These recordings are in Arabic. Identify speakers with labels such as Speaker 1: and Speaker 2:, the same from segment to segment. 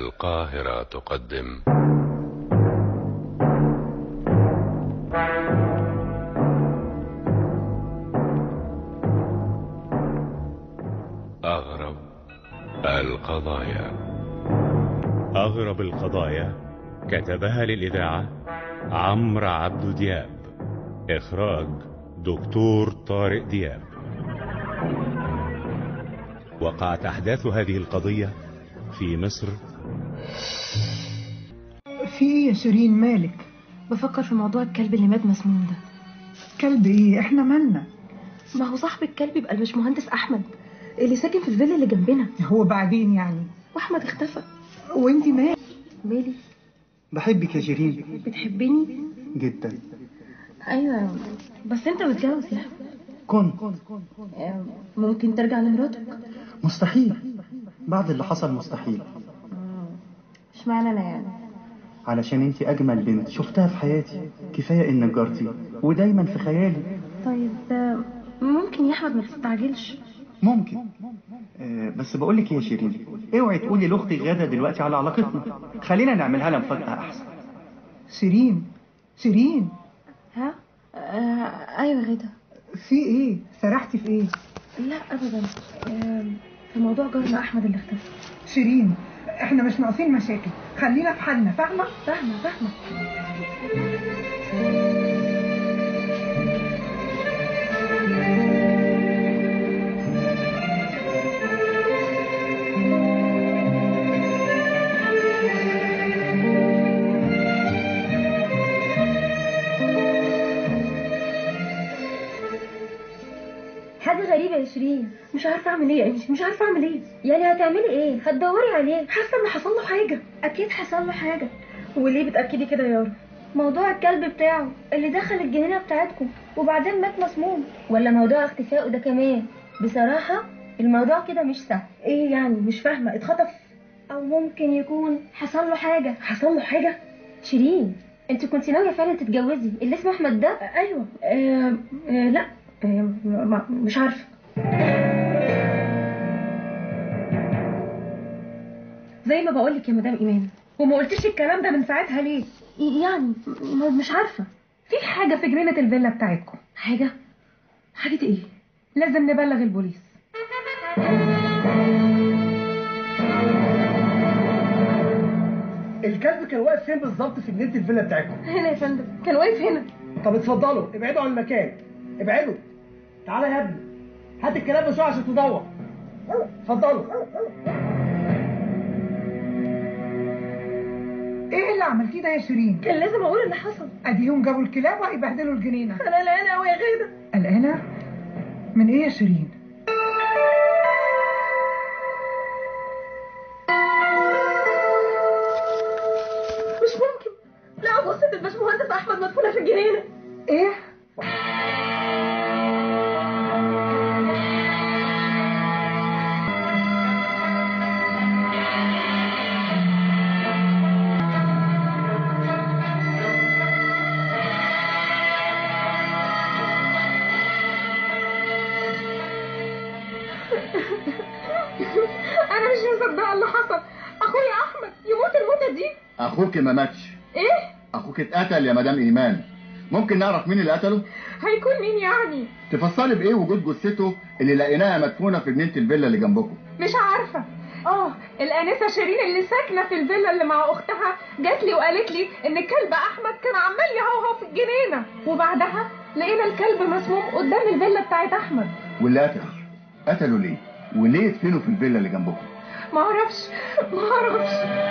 Speaker 1: القاهرة تقدم أغرب القضايا
Speaker 2: أغرب القضايا كتبها للإذاعة عمرو عبد دياب إخراج دكتور طارق دياب وقعت أحداث هذه القضية في مصر
Speaker 3: في ايه يا شيرين مالك
Speaker 4: بفكر في موضوع الكلب اللي مات مسموم ده
Speaker 3: كلب ايه احنا مالنا
Speaker 4: ما هو صاحب الكلب يبقى الباشمهندس احمد اللي ساكن في الفيلا اللي جنبنا
Speaker 3: هو بعدين يعني
Speaker 4: واحمد اختفى
Speaker 3: وانتي مالك
Speaker 4: مالي
Speaker 5: بحبك يا شيرين
Speaker 4: بتحبني
Speaker 5: جدا
Speaker 4: ايوه بس انت متجوز يعني
Speaker 5: كن
Speaker 4: آه، ممكن ترجع لمراتك
Speaker 5: مستحيل بعد اللي حصل مستحيل
Speaker 4: اشمعنى انا يعني
Speaker 5: علشان انت اجمل بنت شفتها في حياتي كفايه انك جارتي ودايما في خيالي
Speaker 4: طيب آه، ممكن يا احمد ما تستعجلش
Speaker 5: ممكن آه بس بقولك يا شيرين اوعي تقولي لاختي غدا دلوقتي على علاقتنا خلينا نعملها لها مفاجاه احسن
Speaker 3: شيرين شيرين
Speaker 4: ها آه، ايوه غدا
Speaker 3: في ايه سرحتي في ايه
Speaker 4: لا ابدا آه، في موضوع جارنا احمد اللي اختفى
Speaker 3: شيرين احنا مش ناقصين مشاكل خلينا في حالنا فاهمه
Speaker 4: فاهمه فاهمه
Speaker 6: حاجة غريبة يا شيرين
Speaker 4: مش عارفه اعمل
Speaker 6: إيه
Speaker 4: ايه يا انجي مش عارفه اعمل ايه
Speaker 6: يعني هتعملي ايه؟ هتدوري عليه
Speaker 4: حاسه ان حصل له حاجه
Speaker 6: أكيد حصل له حاجة
Speaker 4: وليه بتاكدي كده يا يارا
Speaker 6: موضوع الكلب بتاعه اللي دخل الجنينة بتاعتكم وبعدين مات مسموم ولا موضوع اختفائه ده كمان بصراحة الموضوع كده مش سهل
Speaker 4: ايه يعني مش فاهمه اتخطف
Speaker 6: أو ممكن يكون حصل له حاجة
Speaker 4: حصل له حاجه
Speaker 6: شيرين انت كنت ناوية فعلا تتجوزي اللي اسمه أحمد ده
Speaker 4: آه، ايوه آه آه لا آه ما- مش عارفه زي ما بقول لك يا مدام ايمان وما قلتيش الكلام ده من ساعتها ليه
Speaker 6: يعني م- مش عارفة
Speaker 4: في حاجه في جنينه الفيلا بتاعتكم
Speaker 6: حاجة
Speaker 4: حاجه ايه لازم نبلغ البوليس
Speaker 7: الكلب كان واقف فين بالظبط في جنينه الفيلا بتاعتكم
Speaker 4: هنا يا فندم كان واقف هنا
Speaker 7: طب اتفضلوا ابعدوا عن المكان ابعدوا تعالى يا ابني هات الكلاب بسرعه عشان تدور اتفضلوا
Speaker 3: ايه اللي عملتيه ده يا شيرين
Speaker 4: كان لازم اقول اللي حصل
Speaker 3: اديهم جابوا الكلاب ويبهدلوا الجنينه
Speaker 4: انا لا انا ويا غيره
Speaker 3: قلقانه من ايه يا شيرين
Speaker 4: مش ممكن لا بصت الباشمهندس احمد مدفونه في الجنينه
Speaker 3: ايه
Speaker 4: انا مش مصدقه اللي حصل اخويا احمد يموت الموته دي
Speaker 8: اخوك ما ماتش
Speaker 4: ايه
Speaker 8: اخوك اتقتل يا مدام ايمان ممكن نعرف مين اللي قتله
Speaker 4: هيكون مين يعني
Speaker 8: تفسري بايه وجود جثته اللي لقيناها مدفونه في جنينه الفيلا اللي جنبكم
Speaker 4: مش عارفه اه الانسه شيرين اللي ساكنه في الفيلا اللي مع اختها جات لي وقالت لي ان الكلب احمد كان عمال يهوهو في الجنينه وبعدها لقينا الكلب مسموم قدام الفيلا بتاعت احمد
Speaker 8: واللي قتل قتله ليه وليه ادفنوا في الفيلا اللي جنبكم
Speaker 4: معرفش معرفش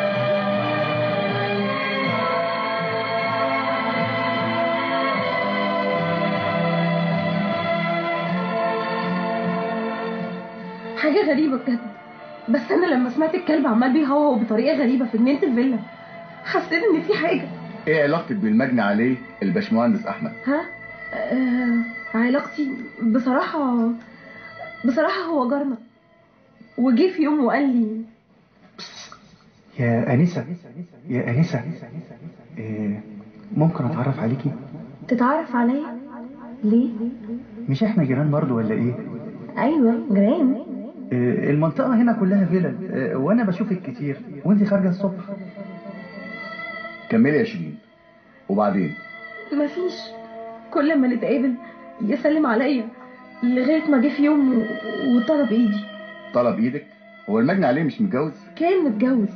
Speaker 4: حاجة غريبة بجد بس أنا لما سمعت الكلب عمال بيهوهو بطريقة غريبة في جنينة الفيلا حسيت إن في حاجة
Speaker 8: ايه علاقتك بالمجني عليه الباشمهندس احمد
Speaker 4: ها؟ آه علاقتي بصراحة بصراحة هو جارنا وجي في يوم وقال لي
Speaker 5: يا انسه يا انسه
Speaker 9: آه،
Speaker 5: إيه ممكن اتعرف عليكي
Speaker 4: تتعرف عليا ليه؟
Speaker 5: مش احنا جيران برضو ولا ايه
Speaker 4: ايوه جيران
Speaker 9: إيه؟ آه، المنطقة هنا كلها فيلل آه، وأنا بشوفك كتير وأنت خارجة الصبح
Speaker 8: كملي يا شيرين وبعدين
Speaker 4: مفيش كل ما نتقابل يسلم عليا لغايه ما جه في يوم و- وطلب ايدي
Speaker 8: طلب ايدك هو المجني عليه مش متجوز
Speaker 4: كان متجوز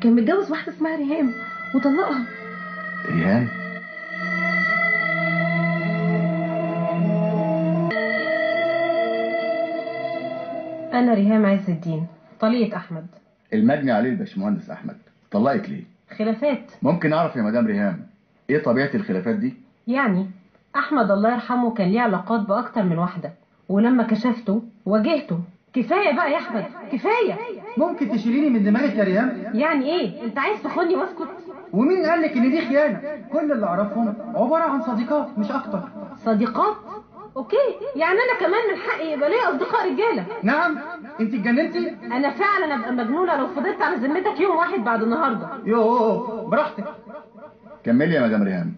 Speaker 4: كان متجوز واحده اسمها ريهام وطلقها
Speaker 8: ريهام
Speaker 4: انا ريهام عز الدين طليقه احمد
Speaker 8: المجني عليه الباشمهندس احمد طلقك ليه
Speaker 4: خلافات
Speaker 8: ممكن اعرف يا مدام ريهام ايه طبيعه الخلافات دي
Speaker 4: يعني احمد الله يرحمه كان ليه علاقات باكتر من واحده ولما كشفته واجهته كفايه بقى يا احمد كفايه
Speaker 9: ممكن تشيليني من دماغك يا ريهام
Speaker 4: يعني ايه انت عايز تخوني واسكت
Speaker 9: ومين قال لك إن دي خيانة كل اللي أعرفهم عبارة عن صديقات مش أكتر
Speaker 4: صديقات اوكي يعني انا كمان من حقي يبقى ليا اصدقاء رجاله
Speaker 9: نعم أنت اتجننتي
Speaker 4: انا فعلا ابقى مجنونه لو فضلت على ذمتك يوم واحد بعد النهارده
Speaker 9: يوه براحتك
Speaker 8: كملي يا مدام ريهام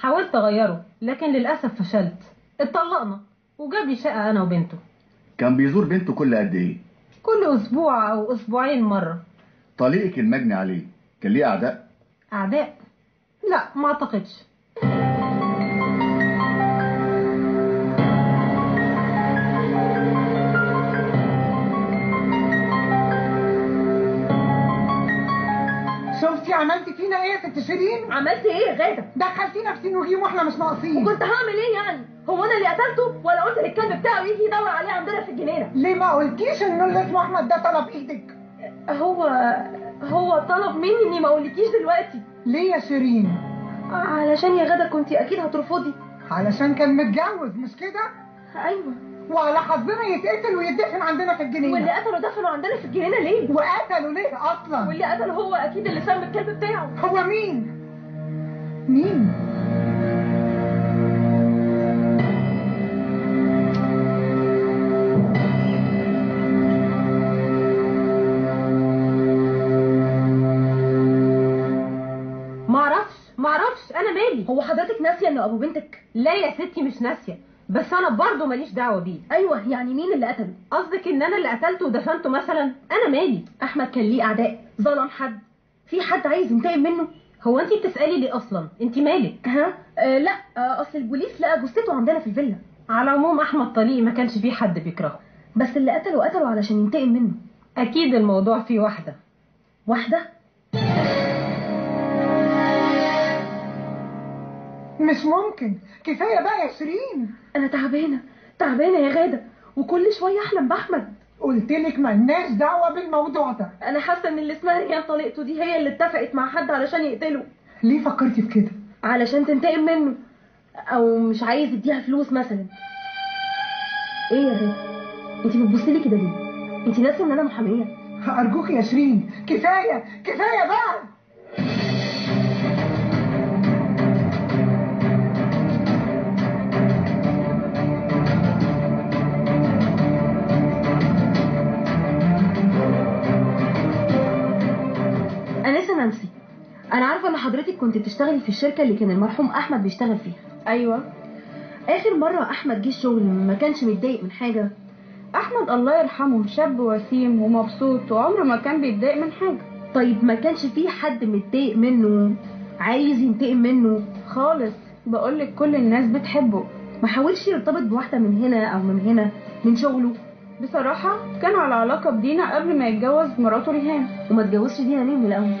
Speaker 4: حاولت اغيره لكن للاسف فشلت اتطلقنا وجاب لي شقه انا وبنته
Speaker 8: كان بيزور بنته كل قد ايه
Speaker 4: كل اسبوع او اسبوعين مره
Speaker 8: طليقك المجني عليه كان ليه اعداء
Speaker 4: اعداء لا ما اعتقدش
Speaker 3: شفتي عملتي فينا ايه يا ست شيرين
Speaker 4: عملت ايه يا غاده
Speaker 3: دخلتينا في سين وجيم واحنا مش ناقصين
Speaker 4: كنت هعمل ايه يعني هو انا اللي قتلته ولا قلت للكلب بتاعه يجي يدور عليه عندنا في الجنينه
Speaker 3: ليه ما قلتيش انه اللي اسمه احمد ده طلب إيه؟ ايدك
Speaker 4: هو هو طلب مني اني ما اقولكيش دلوقتي
Speaker 3: ليه يا شيرين
Speaker 4: علشان يا غاده كنت اكيد هترفضي
Speaker 3: علشان كان متجوز مش كده
Speaker 4: ايوه
Speaker 3: وعلى حظنا يتقتل ويتدفن عندنا في
Speaker 4: واللي
Speaker 3: الجنينه
Speaker 4: قتله دفنه عندنا في الجنينه ليه
Speaker 3: وقتلوا ليه اصلا
Speaker 4: واللي قتله هو اكيد اللي سام الكلب بتاعه
Speaker 3: هو مين مين
Speaker 4: معرفش معرفش انا مالي هو حضرتك ناسيه انه ابو بنتك لا يا ستي مش ناسيه بس انا برضه ماليش دعوه بيه ايوه يعني مين اللي قتله قصدك ان انا اللي قتلته ودفنته مثلا انا مالي احمد كان ليه اعداء ظلم حد في حد عايز ينتقم منه هو انت بتسالي ليه اصلا انت مالك ها آه لا آه اصل البوليس لقى جثته عندنا في الفيلا على العموم احمد طليق ما كانش فيه حد بيكرهه بس اللي قتله قتله علشان ينتقم منه اكيد الموضوع فيه واحده واحده
Speaker 3: مش ممكن كفايه بقى يا شيرين
Speaker 4: انا تعبانه تعبانه يا غاده وكل شويه احلم باحمد
Speaker 3: قلت لك ملناش دعوه بالموضوع ده
Speaker 4: انا حاسه ان اللي اسمها ريان طليقته دي هي اللي اتفقت مع حد علشان يقتله
Speaker 3: ليه فكرتي في كده
Speaker 4: علشان تنتقم منه او مش عايز يديها فلوس إيه مثلا
Speaker 6: ايه يا غاده انت بتبصي لي كده ليه انت ناسيه ان انا محاميه
Speaker 3: أرجوك يا شيرين كفاية كفاية بقى
Speaker 6: انسه نانسي انا عارفه ان حضرتك كنت بتشتغلي في الشركه اللي كان المرحوم احمد بيشتغل فيها
Speaker 4: ايوه
Speaker 6: اخر مره احمد جه الشغل ما كانش متضايق من حاجه
Speaker 4: احمد الله يرحمه شاب وسيم ومبسوط وعمره ما كان بيتضايق من حاجه
Speaker 6: طيب ما كانش في حد متضايق منه عايز ينتقم منه
Speaker 4: خالص بقولك كل الناس بتحبه
Speaker 6: ما حاولش يرتبط بواحده من هنا او من هنا من شغله
Speaker 4: بصراحه كان على علاقه بدينا قبل ما يتجوز مراته ريهام
Speaker 6: وما اتجوزش دينا ليه من الاول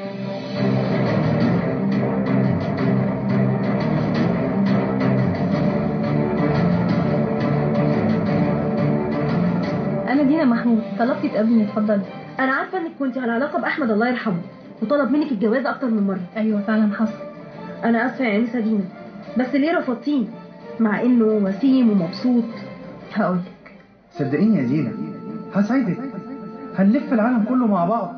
Speaker 6: انا دينا محمود طلبتي تقابلني اتفضلي انا عارفه انك كنت على علاقه باحمد الله يرحمه وطلب منك الجواز اكتر من مره ايوه فعلا حصل انا اسفه يا انسه دينا بس ليه رفضتيني مع انه وسيم ومبسوط هقول
Speaker 9: صدقيني يا زينة هسعدك هنلف العالم كله مع بعض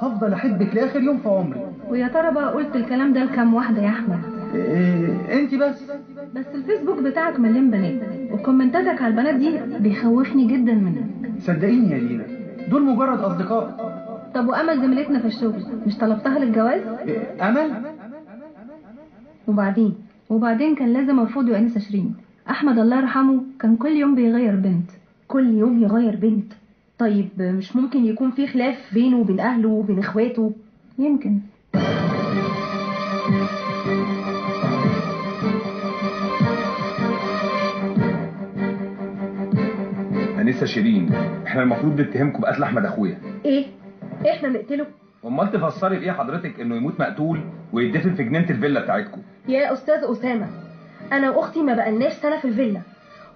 Speaker 9: هفضل أحبك لآخر يوم في عمري
Speaker 6: ويا ترى بقى قلت الكلام ده لكام واحده يا احمد
Speaker 9: إيه أنت بس
Speaker 6: بس الفيسبوك بتاعك مليان بنات وكومنتاتك على البنات دي بيخوفني جدا منك
Speaker 9: صدقيني يا زينة دول مجرد أصدقاء
Speaker 6: طب وامل زميلتنا في الشغل مش طلبتها للجواز
Speaker 9: إيه، أمل
Speaker 6: وبعدين وبعدين كان لازم ارفضه يا انسه شيرين احمد الله يرحمه كان كل يوم بيغير بنت كل يوم يغير بنت
Speaker 4: طيب مش ممكن يكون في خلاف بينه وبين أهله وبين إخواته
Speaker 10: يمكن
Speaker 8: انسه شيرين احنا المفروض نتهمكم بقتل احمد اخويا
Speaker 4: إيه؟ إحنا نقتله؟
Speaker 8: امال تفسري بايه حضرتك انه يموت مقتول ويتدفن في جنينه الفيلا بتاعتكم
Speaker 4: يا أستاذ أسامة أنا وأختي ما بقالناش سنة في الفيلا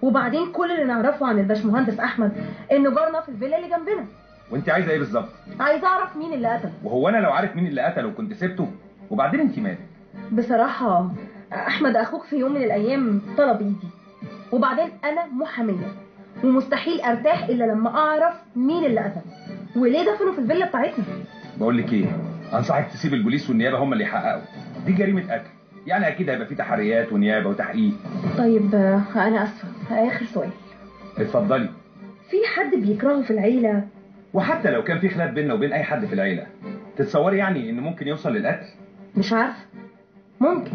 Speaker 4: وبعدين كل اللي نعرفه عن الباشمهندس أحمد إنه جارنا في الفيلا اللي جنبنا
Speaker 8: وانت عايزه ايه بالظبط
Speaker 4: عايزة أعرف مين اللي قتله
Speaker 8: وهو انا لو عارف مين اللي قتله كنت سبته وبعدين انت مالك
Speaker 4: بصراحة أحمد أخوك في يوم من الأيام طلب إيدي وبعدين أنا محامية ومستحيل أرتاح إلا لما أعرف مين اللي قتله وليه دفنوا في الفيلا بتاعتنا
Speaker 8: بقول لك ايه انصحك تسيب البوليس والنيابه هم اللي يحققوا دي جريمه قتل يعني اكيد هيبقى في تحريات ونيابه وتحقيق
Speaker 4: طيب آه، أنا آسفة آخر سؤال
Speaker 8: اتفضلي
Speaker 4: في حد بيكرهه في العيلة
Speaker 8: وحتى لو كان في خلاف بيننا وبين اي حد في العيله تتصوري يعني ان ممكن يوصل للقتل
Speaker 4: مش عارفة ممكن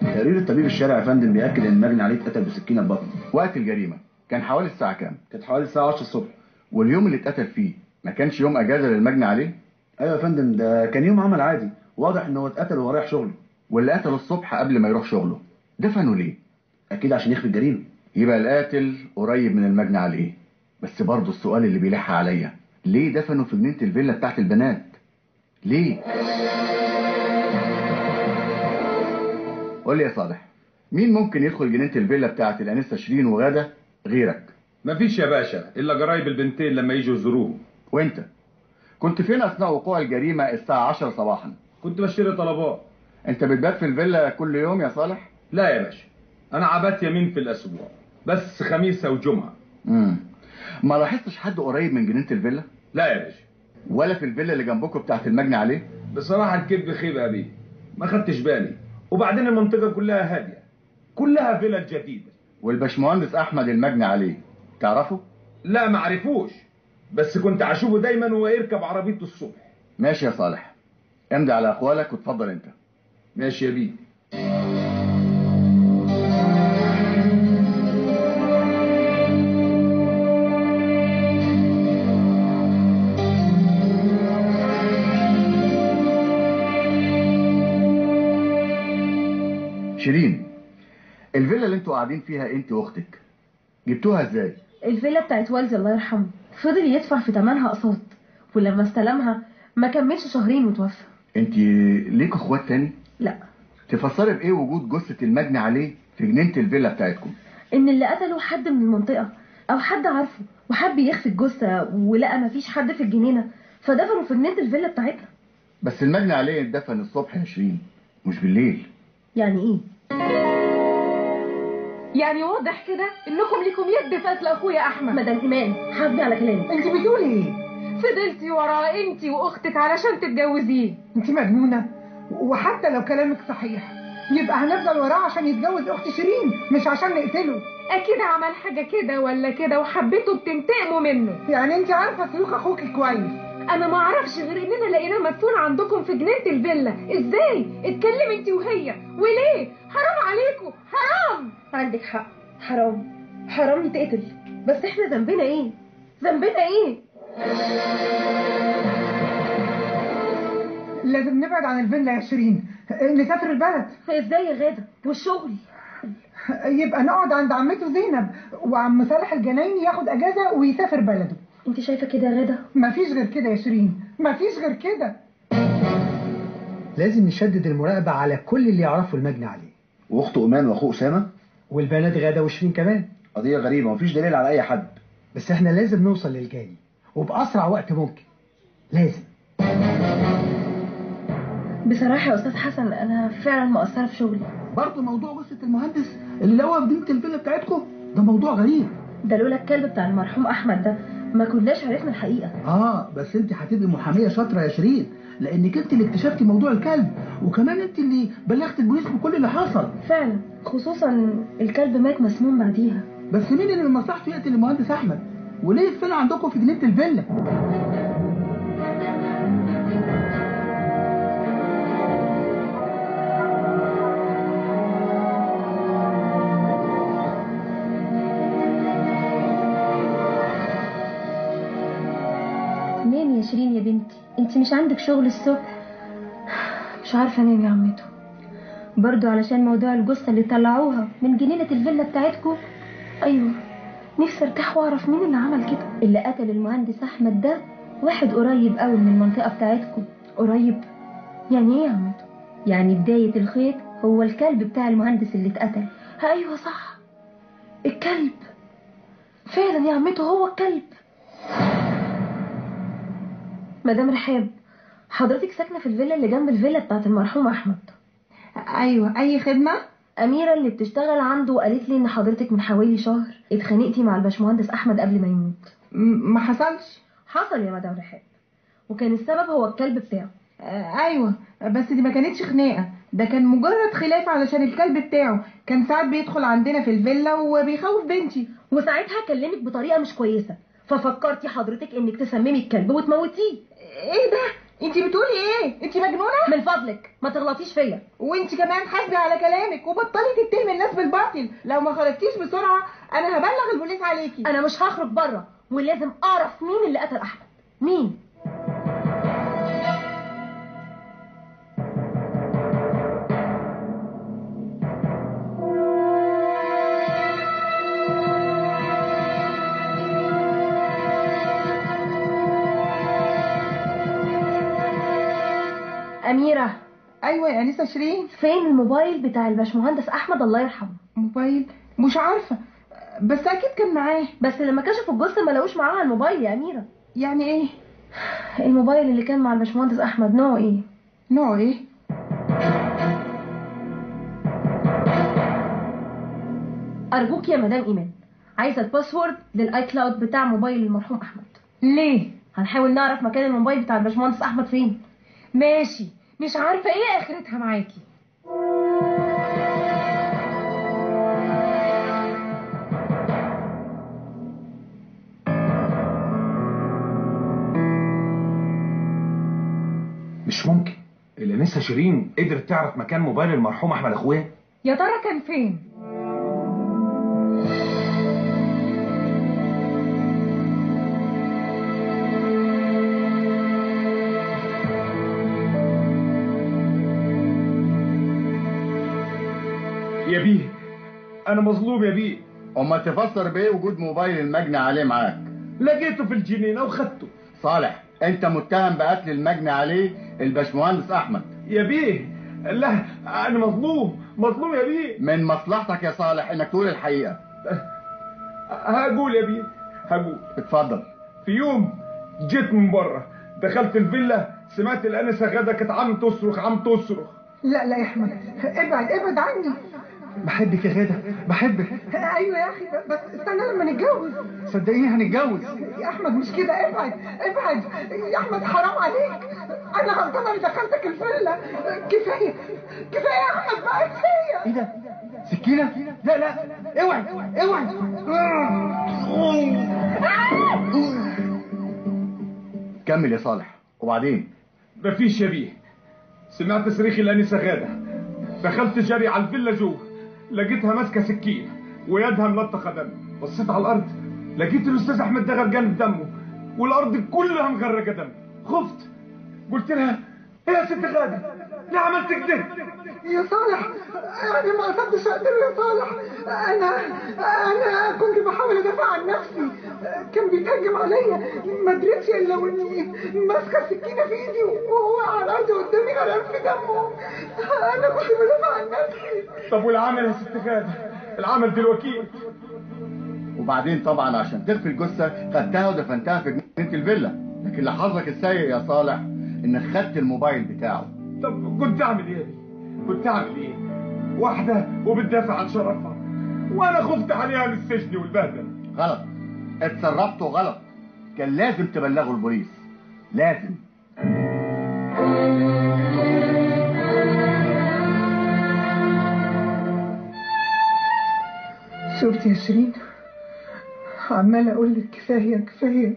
Speaker 11: تقرير الطبيب الشارع يا فندم بياكد ان مجني عليه اتقتل بسكينه بطن
Speaker 5: وقت الجريمه كان حوالي الساعه كام
Speaker 11: كانت حوالي الساعه 10 الصبح
Speaker 5: واليوم اللي اتقتل فيه ما كانش يوم اجازه للمجني عليه أيوة
Speaker 11: ايوه يا فندم ده كان يوم عمل عادي واضح ان هو اتقتل وهو رايح شغله
Speaker 5: واللي قتله الصبح قبل ما يروح شغله دفنه ليه
Speaker 11: اكيد عشان يخفي الجريمه
Speaker 5: يبقى القاتل قريب من المجني عليه بس برضه السؤال اللي بيلح عليا ليه دفنه في جنينه الفيلا بتاعت البنات ليه قول لي يا صالح مين ممكن يدخل جنينه الفيلا بتاعت الانسه شيرين وغاده غيرك
Speaker 8: مفيش يا باشا الا جرايب البنتين لما يجوا يزوروه
Speaker 5: وانت كنت فين اثناء وقوع الجريمه الساعه 10 صباحا
Speaker 8: كنت بشتري طلبات
Speaker 5: انت بتبات في الفيلا كل يوم يا صالح
Speaker 8: لا يا باشا انا عبات يمين في الاسبوع بس خميس وجمعه
Speaker 5: امم ما لاحظتش حد قريب من جنينه الفيلا
Speaker 8: لا يا باشا
Speaker 5: ولا في الفيلا اللي جنبكم بتاعت المجني عليه
Speaker 8: بصراحه الكذب خيب ابي ما خدتش بالي وبعدين المنطقه كلها هاديه كلها فيلل جديده
Speaker 5: والباشمهندس احمد المجني عليه تعرفه
Speaker 8: لا ما عرفوش بس كنت اشوفه دايما وهو يركب عربيته الصبح
Speaker 5: ماشي يا صالح امضي على اقوالك واتفضل انت
Speaker 8: ماشي يا بيه
Speaker 5: شيرين الفيلا اللي انتوا قاعدين فيها انت واختك جبتوها ازاي
Speaker 4: الفيلا بتاعت والدي الله يرحمه فضل يدفع في تمنها أقساط ولما استلمها ما كملش شهرين وتوفى
Speaker 5: انت ليك اخوات تاني
Speaker 4: لا
Speaker 5: تفسري بايه وجود جثه المجني عليه في جنينه الفيلا بتاعتكم
Speaker 4: إن اللي قتله حد من المنطقة أو حد عارفه وحب يخفي الجثة ولقى مفيش حد في الجنينة فدفنوا في جنينة الفيلا بتاعتنا
Speaker 5: بس المجني عليه اتدفن الصبح يا شيرين مش بالليل
Speaker 4: يعني إيه؟
Speaker 10: يعني واضح كده انكم ليكم يد في قتل اخويا احمد
Speaker 4: مدام إيمان حافظي على كلامك
Speaker 3: انت بتقولي ايه
Speaker 10: فضلتي وراه انتي واختك علشان تتجوزيه
Speaker 3: انت مجنونه وحتى لو كلامك صحيح يبقى هنفضل وراه عشان يتجوز اخت شيرين مش عشان نقتله
Speaker 10: اكيد عمل حاجه كده ولا كده وحبيته بتنتقموا منه
Speaker 3: يعني انت عارفه سلوك اخوكي كويس
Speaker 10: انا ما اعرفش غير اننا لقيناه مدفون عندكم في جنينه الفيلا ازاي اتكلمي انتي وهي وليه حرام عليكم حرام
Speaker 4: عندك حق حرام حرام يتقتل بس إحنا ذنبنا إيه؟ ذنبنا إيه؟
Speaker 3: لازم نبعد عن الفيلا يا شيرين نسافر البلد
Speaker 4: إزاي يا غادة؟ والشغل؟
Speaker 3: يبقى نقعد عند عمته زينب وعم صالح الجنايني ياخد اجازه ويسافر بلده
Speaker 4: أنت شايفة كده يا غادة؟
Speaker 3: مفيش غير كده يا شيرين مفيش غير كده
Speaker 12: لازم نشدد المراقبه على كل اللي يعرفه المجني عليه
Speaker 11: واخته امان واخوه اسامه
Speaker 12: والبنات غاده وشيرين كمان
Speaker 11: قضيه غريبه مفيش دليل على اي حد
Speaker 12: بس احنا لازم نوصل للجاني وباسرع وقت ممكن لازم
Speaker 4: بصراحة يا أستاذ حسن أنا فعلا مقصرة في شغلي
Speaker 12: برضه موضوع جثه المهندس اللي لقوها في جنينه الفيلا بتاعتكم ده موضوع غريب
Speaker 4: ده لولا الكلب بتاع المرحوم أحمد ده ما كناش عرفنا الحقيقة
Speaker 12: اه بس انت هتبقي محاميه شاطره يا شيرين لانك انت اللي اكتشفتي موضوع الكلب وكمان انت اللي بلغت البوليس بكل اللي حصل
Speaker 4: فعلا خصوصا الكلب مات مسموم بعديها
Speaker 12: بس مين اللي من مصلحته يقتل المهندس احمد وليه الفيلا عندكم في جنينه الفيلا
Speaker 13: شيرين يا بنتي انت مش عندك شغل الصبح مش عارفه انام يا عمته برضو علشان موضوع الجثه اللي طلعوها من جنينه الفيلا بتاعتكم ايوه نفسي ارتاح واعرف مين اللي عمل كده اللي قتل المهندس احمد ده واحد قريب قوي من المنطقه بتاعتكم قريب يعني ايه يا عمته يعني بدايه الخيط هو الكلب بتاع المهندس اللي اتقتل ايوه صح الكلب فعلا يا عمته هو الكلب
Speaker 4: مدام رحاب حضرتك ساكنه في الفيلا اللي جنب الفيلا بتاعت المرحوم احمد ايوه اي خدمه اميره اللي بتشتغل عنده قالت لي ان حضرتك من حوالي شهر اتخانقتي مع الباشمهندس احمد قبل ما يموت ما حصلش حصل يا مدام رحاب وكان السبب هو الكلب بتاعه
Speaker 3: ايوه بس دي ما كانتش خناقه ده كان مجرد خلاف علشان الكلب بتاعه كان ساعات بيدخل عندنا في الفيلا وبيخوف بنتي
Speaker 4: وساعتها كلمك بطريقه مش كويسه ففكرتي حضرتك انك تسممي الكلب وتموتيه
Speaker 3: ايه ده انت بتقولي ايه انت مجنونه
Speaker 4: من فضلك ما تغلطيش فيا
Speaker 3: وانت كمان حاسبه على كلامك وبطلي تتهمي الناس بالباطل لو ما خرجتيش بسرعه انا هبلغ البوليس عليكي
Speaker 4: انا مش هخرج بره ولازم اعرف مين اللي قتل احمد مين أميرة
Speaker 3: أيوة يا أنسة شيرين
Speaker 4: فين الموبايل بتاع الباشمهندس أحمد الله يرحمه
Speaker 3: موبايل مش عارفة بس أكيد كان معاه
Speaker 4: بس لما كشفوا الجثة ما لقوش معاها الموبايل يا أميرة
Speaker 3: يعني إيه
Speaker 4: الموبايل اللي كان مع الباشمهندس أحمد نوعه إيه
Speaker 3: نوعه إيه
Speaker 4: أرجوك يا مدام إيمان عايزة الباسورد للآي كلاود بتاع موبايل المرحوم أحمد
Speaker 14: ليه
Speaker 4: هنحاول نعرف مكان الموبايل بتاع الباشمهندس أحمد فين
Speaker 14: ماشي مش عارفة ايه اخرتها معاكي
Speaker 15: مش ممكن الانسه شيرين قدرت تعرف مكان موبايل المرحوم احمد اخويا
Speaker 14: يا ترى كان فين
Speaker 15: يا بيه انا مظلوم يا بيه
Speaker 8: امال تفسر بايه وجود موبايل المجني عليه معاك
Speaker 5: لقيته في الجنينه وخدته
Speaker 8: صالح انت متهم بقتل المجني عليه الباشمهندس احمد
Speaker 5: يا بيه لا انا مظلوم مظلوم يا بيه
Speaker 8: من مصلحتك يا صالح انك تقول الحقيقه
Speaker 5: هقول يا بيه هقول
Speaker 8: اتفضل
Speaker 5: في يوم جيت من بره دخلت الفيلا سمعت الانسه غدا كانت عم تصرخ عم تصرخ
Speaker 3: لا لا يا أحمد ابعد ابعد عني
Speaker 16: بحبك يا غادة بحبك
Speaker 3: ايوه يا اخي بس استنى لما نتجوز
Speaker 16: صدقيني هنتجوز
Speaker 3: يا احمد مش كده ابعد ابعد يا احمد حرام عليك انا غلطانه اللي دخلتك الفيلا كفايه كفايه يا احمد بقى كفايه
Speaker 5: إيه
Speaker 16: ايه ده سكينة لا لا اوعي اوعي
Speaker 8: كمل يا صالح وبعدين
Speaker 5: مفيش يا بيه سمعت صريخ الانسه غاده دخلت جري على الفيلا جوه لقيتها ماسكه سكين ويدها ملطخه دم بصيت على الارض لقيت الاستاذ احمد ده غرقان في دمه والارض كلها مغرقه دم خفت قلت لها ايه يا ست غاده ليه عملت كده
Speaker 3: يا صالح انا ما قصدتش اقتله يا صالح انا انا كنت بحاول ادافع عن نفسي كان بيتهجم عليا ما قدرتش الا واني ماسكه السكينه في ايدي وهو على الارض قدامي غرقان في دمه انا كنت بدافع عن نفسي
Speaker 5: طب والعمل يا ست غاده العمل بالوكيل
Speaker 8: وبعدين طبعا عشان تخفي الجثه خدتها ودفنتها في جنينه الفيلا لكن لحظك السيء يا صالح انك خدت الموبايل بتاعه
Speaker 5: طب كنت اعمل ايه كنت اعمل ايه واحده وبتدافع عن شرفها وانا خفت عليها من السجن والبهدله
Speaker 8: غلط اتصرفتوا غلط كان لازم تبلغوا البوليس لازم
Speaker 3: شفت يا شيرين عمال اقول لك كفايه كفايه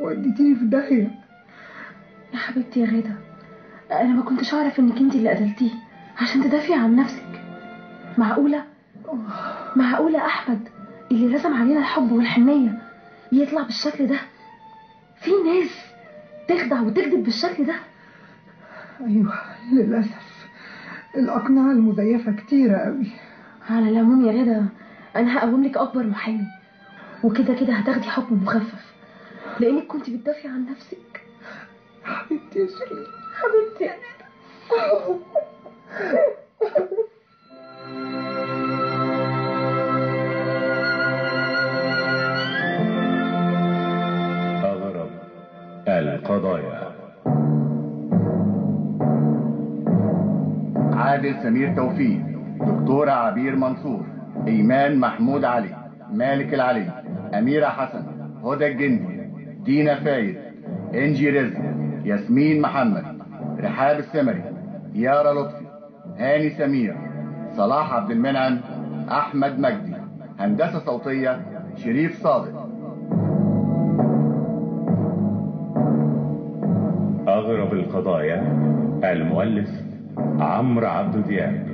Speaker 3: وديتيني في داهيه
Speaker 4: يا حبيبتي يا غادة أنا ما كنتش أعرف إنك أنت اللي قتلتيه عشان تدافعي عن نفسك معقولة معقولة أحمد اللي رسم علينا الحب والحنية يطلع بالشكل ده في ناس تخدع وتكذب بالشكل ده
Speaker 3: ايوه للاسف الاقنعه المزيفه كتيره قوي
Speaker 4: على العموم يا غدا انا هقوم لك اكبر محامي وكده كده هتاخدي حكم مخفف لانك كنت بتدافعي عن نفسك
Speaker 3: حبيبتي يا شيرين
Speaker 4: حبيبتي يا غدا.
Speaker 2: أغرب القضايا
Speaker 8: عادل سمير توفيق دكتورة عبير منصور إيمان محمود علي مالك العلي أميرة حسن هدى الجندي دينا فايد إنجي رزق ياسمين محمد رحاب السمري يارا لطفي هاني سمير صلاح عبد المنعم أحمد مجدي هندسة صوتية شريف صادق
Speaker 2: أغرب القضايا المؤلف عمرو عبد دياب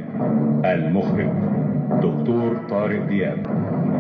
Speaker 2: المخرج دكتور طارق دياب